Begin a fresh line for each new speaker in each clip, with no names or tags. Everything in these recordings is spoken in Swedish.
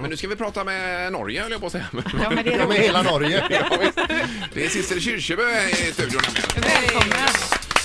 Men nu ska vi prata med Norge höll jag på att säga.
Ja, men det
Ja,
är
med
roligt.
hela Norge.
Ja, visst. det är Sissel Kyrkjebø i studion nämligen.
Välkommen.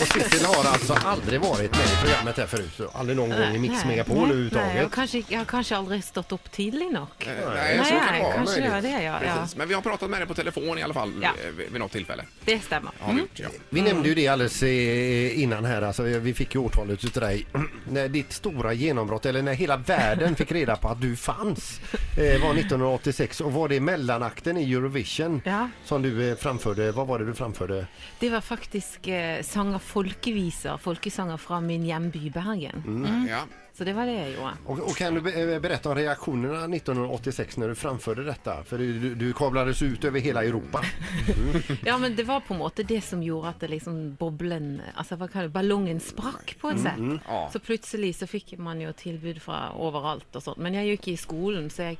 Och Sissel har alltså aldrig varit med i programmet här förut. så Aldrig någon gång i Mix Megapol
Nej, jag,
överhuvudtaget.
kanske, jag kanske aldrig stått upp tidigt nog.
Nej, så kan det vara.
kanske
möjligt.
gör det. Ja, ja.
Precis. Men vi har pratat med dig på telefon i alla fall
Ja. Mm.
eh, vid vid något tillfälle.
Det stämmer.
Har vi gjort, ja.
Vi nämnde ju det alldeles eh, innan här, alltså, vi fick ju årtalet utav dig. När ditt stora genombrott, eller när hela världen fick reda på att du fanns, eh, var 1986 och var det mellanakten i Eurovision
Ja.
som du eh, framförde, vad var det du framförde?
Det var faktisk eh, sång av folkeviser, folkesanger från min hemby Bergen.
Ja.
Så det var det jag gjorde.
Och, och kan du be- eh, berätta om reaktionerna 1986 när du framförde detta? För du, du kablades ut över hela Europa.
Ja, men det var på en måte det som gjorde att det liksom boblen, alltså vad kallar det, ballongen sprack på ett sätt.
Mm, ja.
Så plötsligt så fick man ju tillbud från överallt och sånt. Men jag gick i skolan så jag,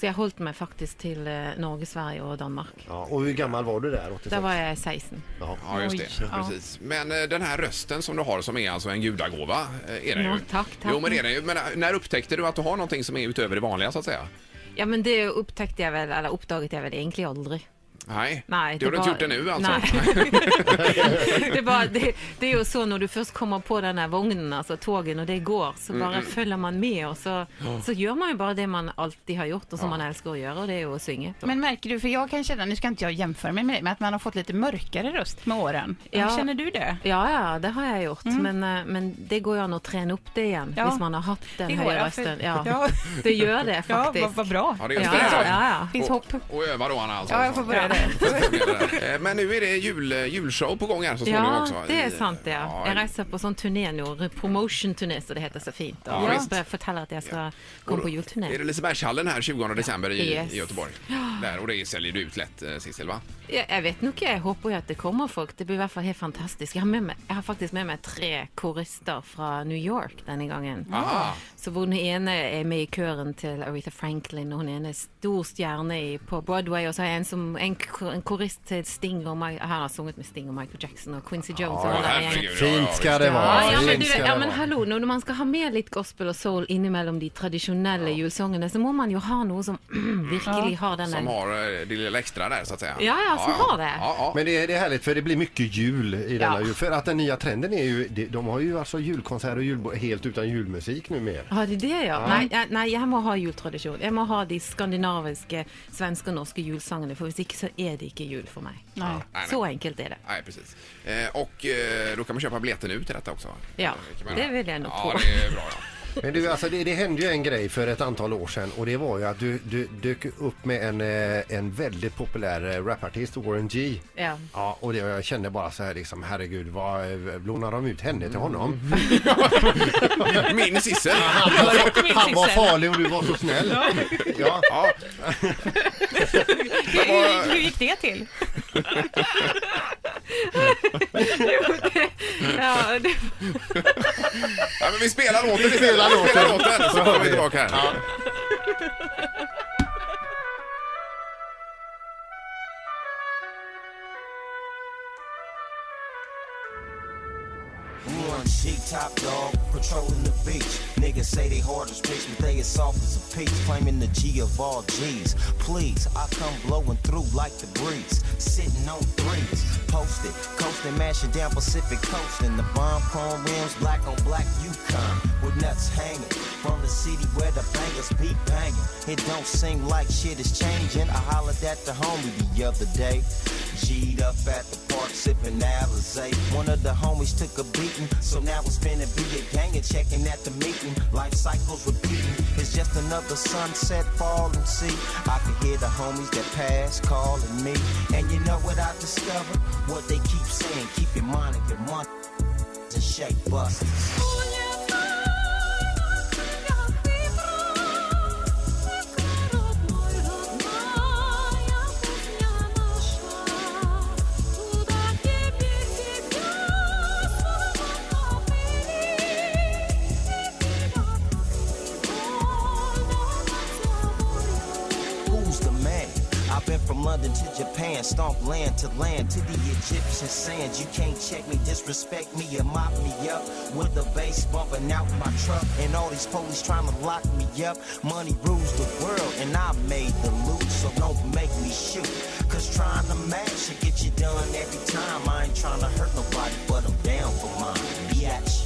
så jag höll mig faktiskt till eh, Norge, Sverige och Danmark.
Ja, och hur gammal var du där 86?
Där var jag 16.
Ja.
ja, just det.
Oj, ja.
Precis. Men eh, den här rösten som du har som är alltså en gudagåva, eh, är den
Ja,
ju.
tack, tack.
Jo, men det är den ju. Men eh, när upptäckte du att du har någonting som är utöver det vanliga så att säga?
Ja, men det upptäckte jag väl, eller uppdagade jag väl egentligen aldrig.
Nej,
Nej,
du har inte
bara-
gjort det nu alltså?
Nej. det, är bara, det, det är ju så när du först kommer på den här vagnen, alltså tågen, och det går så
Mm,
bara följer man med och så, så gör man ju bara det man alltid har gjort och som man älskar att göra och det är ju att synga.
Men märker du, för jag kan känna, nu ska inte jag jämföra mig med dig, men att man har fått lite mörkare röst med åren.
Ja.
Känner du det?
Ja, ja, det har jag gjort, men, eh, men det går ju an att träna upp det igen,
Mm. Ja.
om man har haft den
Det går,
höga
ja,
rösten.
för-
Ja.
ja.
Det gör det
Ja,
faktiskt.
vad, vad bra.
Ja, det är
Ja,
just
ja,
det.
ja.
Finns hopp.
Och öva då Anna alltså?
Ja, jag får börja där.
Eh, Men nu är det jul, julshow på gång här så småningom
Ja,
också.
det är
I-
sant det.
Ja,
Jag reser på sån turné nu, promotion-turné så det heter så fint. Och
Ja,
jag
visst.
börjar förtälla att jag ska
och
komma
då
på julturné.
Är det Lisebergshallen här 20 december i,
Yes.
i Göteborg? Där, och det säljer du ut lätt, eh, Sissel, va?
Jag, jag vet nog inte, jag hoppas ju att det kommer folk. Det blir i alla fall helt fantastiskt. Jag har, med mig, jag har faktiskt med mig tre korister från New York denna gången.
Aha.
Så hon ena är med i kören till Aretha Franklin och hon ena är en stor stjärna i, på Broadway och så har jag en, som, en, ko- en korist till Sting och Mi- han har sjungit med Sting och Michael Jackson och Quincy Jones. och
Ja,
alla gänget.
herregud, ja, ja,
Fint ska det vara.
Ja, ja, men,
Fint
du,
ska
vet-
det
ja, men
vara.
hallå, nu, när man ska ha med lite gospel och soul inemellan de traditionella julsångerna så må man ju ha något som verkligen har den
Som
där-
har eh, det lilla extra där så att säga.
Ja, ja, som har det.
Ja, ja.
Men det är, det är härligt för det blir mycket jul i denna
Ja.
jul. För att den nya trenden är ju, de, de har ju alltså julkonserter och julbo- helt utan julmusik numera.
Ja, det er det, ja. Nei, jeg, nei, jeg må ha jultradisjon. Jeg må ha de skandinaviske, svenske og norske julesangene. For hvis ikke, så er det ikke jul for meg.
Nej.
nej.
Så enkelt är det.
Nej, precis. Eh, och eh, då kan man köpa biljetter nu till detta också. Eh,
Ja,
kan man
det
göra.
vill jag nog
Ja,
tro.
det är bra. Ja.
Men du, alltså, det, det hände ju en grej för ett antal år sedan och det var ju att du, du dök upp med en, eh, en väldigt populär eh, rapartist, Warren G.
Ja.
Ja, och det, jag kände bara så här liksom, herregud, vad eh, lånar de ut henne till honom?
Mm.
Min Sissel!
Han var farlig och du var så snäll. Ja,
Ja,
Hur, hur, hur gick det till?
Ja, det,
ja, men vi spelar låten Vi
spelar låten.
låten så kommer vi tillbaka här.
We on cheek top dog, patrolling the beach. Niggas say they hard as bricks, but they as soft as a peach. Claiming the G of all G's. Please, I come blowing through like the breeze. Sitting on threes, posted, coasting, mashing down Pacific coast. And the bomb chrome rims, black on black Yukon. With nuts hanging from the city where the bangers be banging. It don't seem like shit is changing. I hollered at the homie the other day. G'd up at the park, sipping Alizé. One of the homies took a beating, so now it's been a big gang and checking at the meeting. Life cycles repeating, it's just another sunset falling. See, I can hear the homies that pass calling me. And you know what I discovered? What they keep saying, keep your mind and your money to shake busters. Who's the man? I Been from London to Japan, stomp land to land to the Egyptian sands. You can't check me, disrespect me, or mop me up with a bass bumping out my truck. And all these police trying to lock me up. Money rules the world, and I made the loot, so don't make me shoot. Cause trying to match it get you done every time. I ain't trying to hurt nobody, but I'm down for mine. Biatch.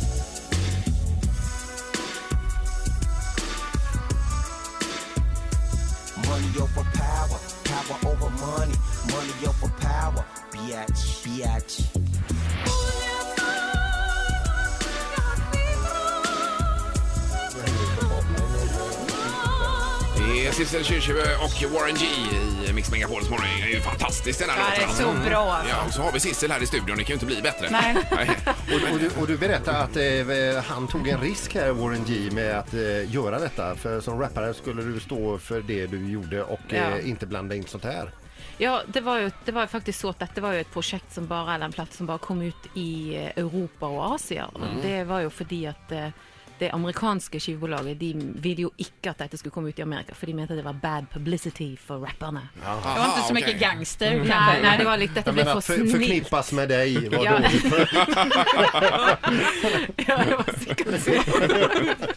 Money over power, power over money, money over power. Biatch, biatch.
Det är Sissel Kyrkjebø och Warren G i Mix Megapols morgon. Det är ju fantastiskt den här
Ja, det är
låten. Mm.
så bra, alltså.
Ja, och så har vi Sissel här i studion. Det kan ju inte bli bättre.
Nej.
Och, och, du, och du berättar att eh, han tog en risk här, Warren G, med att eh, göra detta. För som rappare skulle du stå för det du gjorde och
Ja.
eh, inte blanda in sånt här.
Ja, det var ju, det var ju faktiskt så att dette var jo et prosjekt som bare, eller en platt som bare kom ut i eh, Europa og Asia. Og Det var jo fordi at eh, det amerikanske skivebolaget de ville jo ikke at dette skulle komme ut i Amerika, for de mente det var bad publicity for rapperne.
Det var inte så mycket gangster
Mm.
Nei,
kanske.
nei, det var litt, dette
Jag
ble
menar,
for
för,
snilt.
förknippas med dig var
Ja.
dåligt.
Ja, det var sikkert så.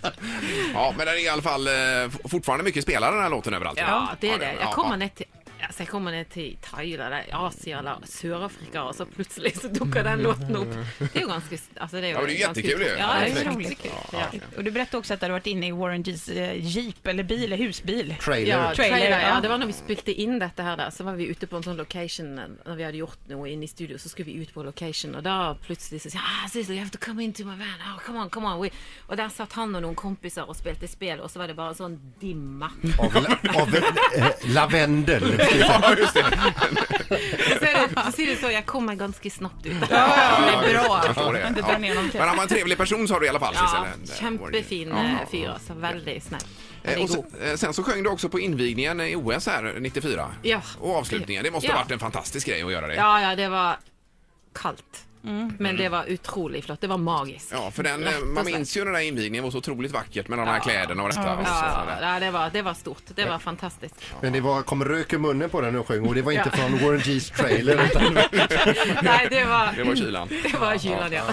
Ja, men den är i alla fall eh, f- fortfarande mycket spelare den här låten överallt.
Ja, det är det.
ja,
Jag kommer ned till Alltså jag kommer ner till Thailand, eller Asien eller Sydafrika och så plötsligt så dukker den låten upp. Det är ju ganska... Alltså det är ju
Ja, men det är ju
ganska
jättekul ju.
utro-
Ja,
Ja,
det
det är
är
roligt.
otroligt kul. Ja. Och du berättade också att du hade varit inne i Warren Gs eh, jeep eller bil, eller husbil.
Trailer.
Ja,
Trailer,
trailer, ja.
ja.
Det var når vi spilte inn dette her, da, så var vi ute på en sånn location eh, Når vi hadde gjort noe inne i studio, så skulle vi ut på location, og da plutselig så sier ah, Sissel, you have to come into my van. Oh, come on, come on. We... Og der satt han og noen kompiser og spilte spill, och så var det bara sånn dimma.
Av, la- av eh, lavendel.
Ja, just det.
Så, er det- for å si det så, jeg kom meg ganske snapt ut.
Ja, men det är
Jag
bra.
förstår det.
Inte
Ja.
dra ner någon
Men han var en trevlig person sa du i alla fall
Ja,
Sissel.
kjempefin
Ja.
eh, fyr, altså. Veldig snill.
Eh,
Veldig
Och
god.
sen, eh, sen så sjöng du också på invigningen i OS här 94.
Ja.
Och avslutningen. Det måste
Ja.
ha varit en fantastisk grej att göra det.
Ja, ja, det var kaldt.
Mm.
Men det var utrolig flott. Det var magisk.
Ja, för den, eh,
Rett og
man
slett.
minns ju den där invigningen var så otroligt vackert med de här kläderna och detta. Och så-
Ja,
sådär.
ja det, var, det var stort. Det var fantastiskt.
Men det var, kom rök i munnen på den och sjöng och det var inte
Ja.
från Warren Gs trailer utan
Nej, det var,
Det var kylan.
det var kylan, ja.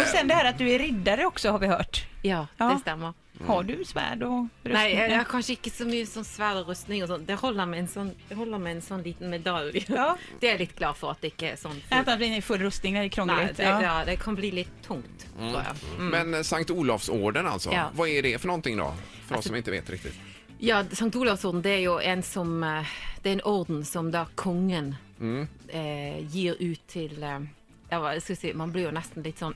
Och sen det här att du är riddare också har vi hört.
Ja,
Ja.
det stämmer.
Mm.
Har du svärd och rustning?
Nej, jag jag har kanske inte så mycket sån svärd och rustning och sånt. Det håller med en sån, det håller med en sån liten medalj.
Ja.
Det är jag lite glad för att det inte är sån.
Jag antar att vi är i full rustning, det här är
Nej,
krångligt.
det,
ja.
ja, det kan bli lite tungt, tror jag.
Men eh, Sankt Olofsorden alltså.
Mm. Ja.
Vad är det för någonting då? För oss
Alltså-
som inte vet riktigt.
Ja, Sankt Olavsorden det är ju en som eh, Det är en orden som då kungen
Mm.
eh, ger ut till eh, Ja, vad ska jag säga, man blir ju nästan lite sån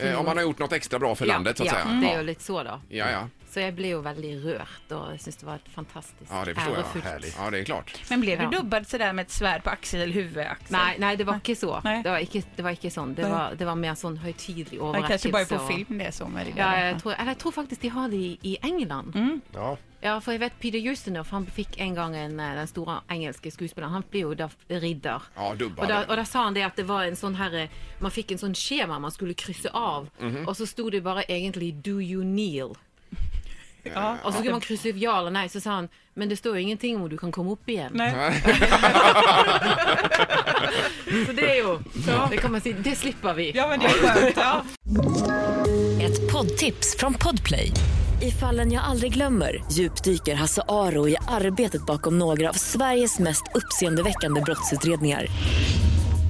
Eh, om man har gjort något extra bra för landet så att
ja,
säga.
Mm. Ja, det är
Ja.
ju lite så då.
Ja, ja.
Så jag blev ju väldigt rört och jag syns det var ett fantastiskt
ja, det förstår jag.
ärofullt.
Härligt. Ja, det är klart.
Men blev du
Ja.
dubbad sådär med ett svärd på axel eller huvudaxel?
Nej, nej, det var inte så.
Nej.
Det var inte, det var inte sånt. Det
Nej.
var, det var mer sån högtidlig
Ja,
överräckelse.
kanske bara på
och-
film det är så med
Ja,
riddare.
jag tror, eller Mm. jag tror faktiskt de har det i, i England.
ja.
Ja, for jeg vet Peter Ustinov han fikk en gang en, eh, den store engelske skuespilleren. Han blir jo da ridder.
Ja, dubbad.
og, da, og da sa han det at det var en sånn her eh, Man fikk en sånn skjema man skulle krysse av, og så sto det bare egentlig 'Do you kneel?'
Ja.
Og så skulle man krysse ja eller nei, så sa han 'Men det står jo ingenting om hvor du kan komme opp igjen'.
Nej.
Så det er jo Det kan man si. Det slipper vi.
Ja, men det är skönt. Ja.
Ett poddtips från Podplay. I fallen jag aldrig glömmer djupdyker Hasse Aro i arbetet bakom några av Sveriges mest uppseendeväckande brottsutredningar.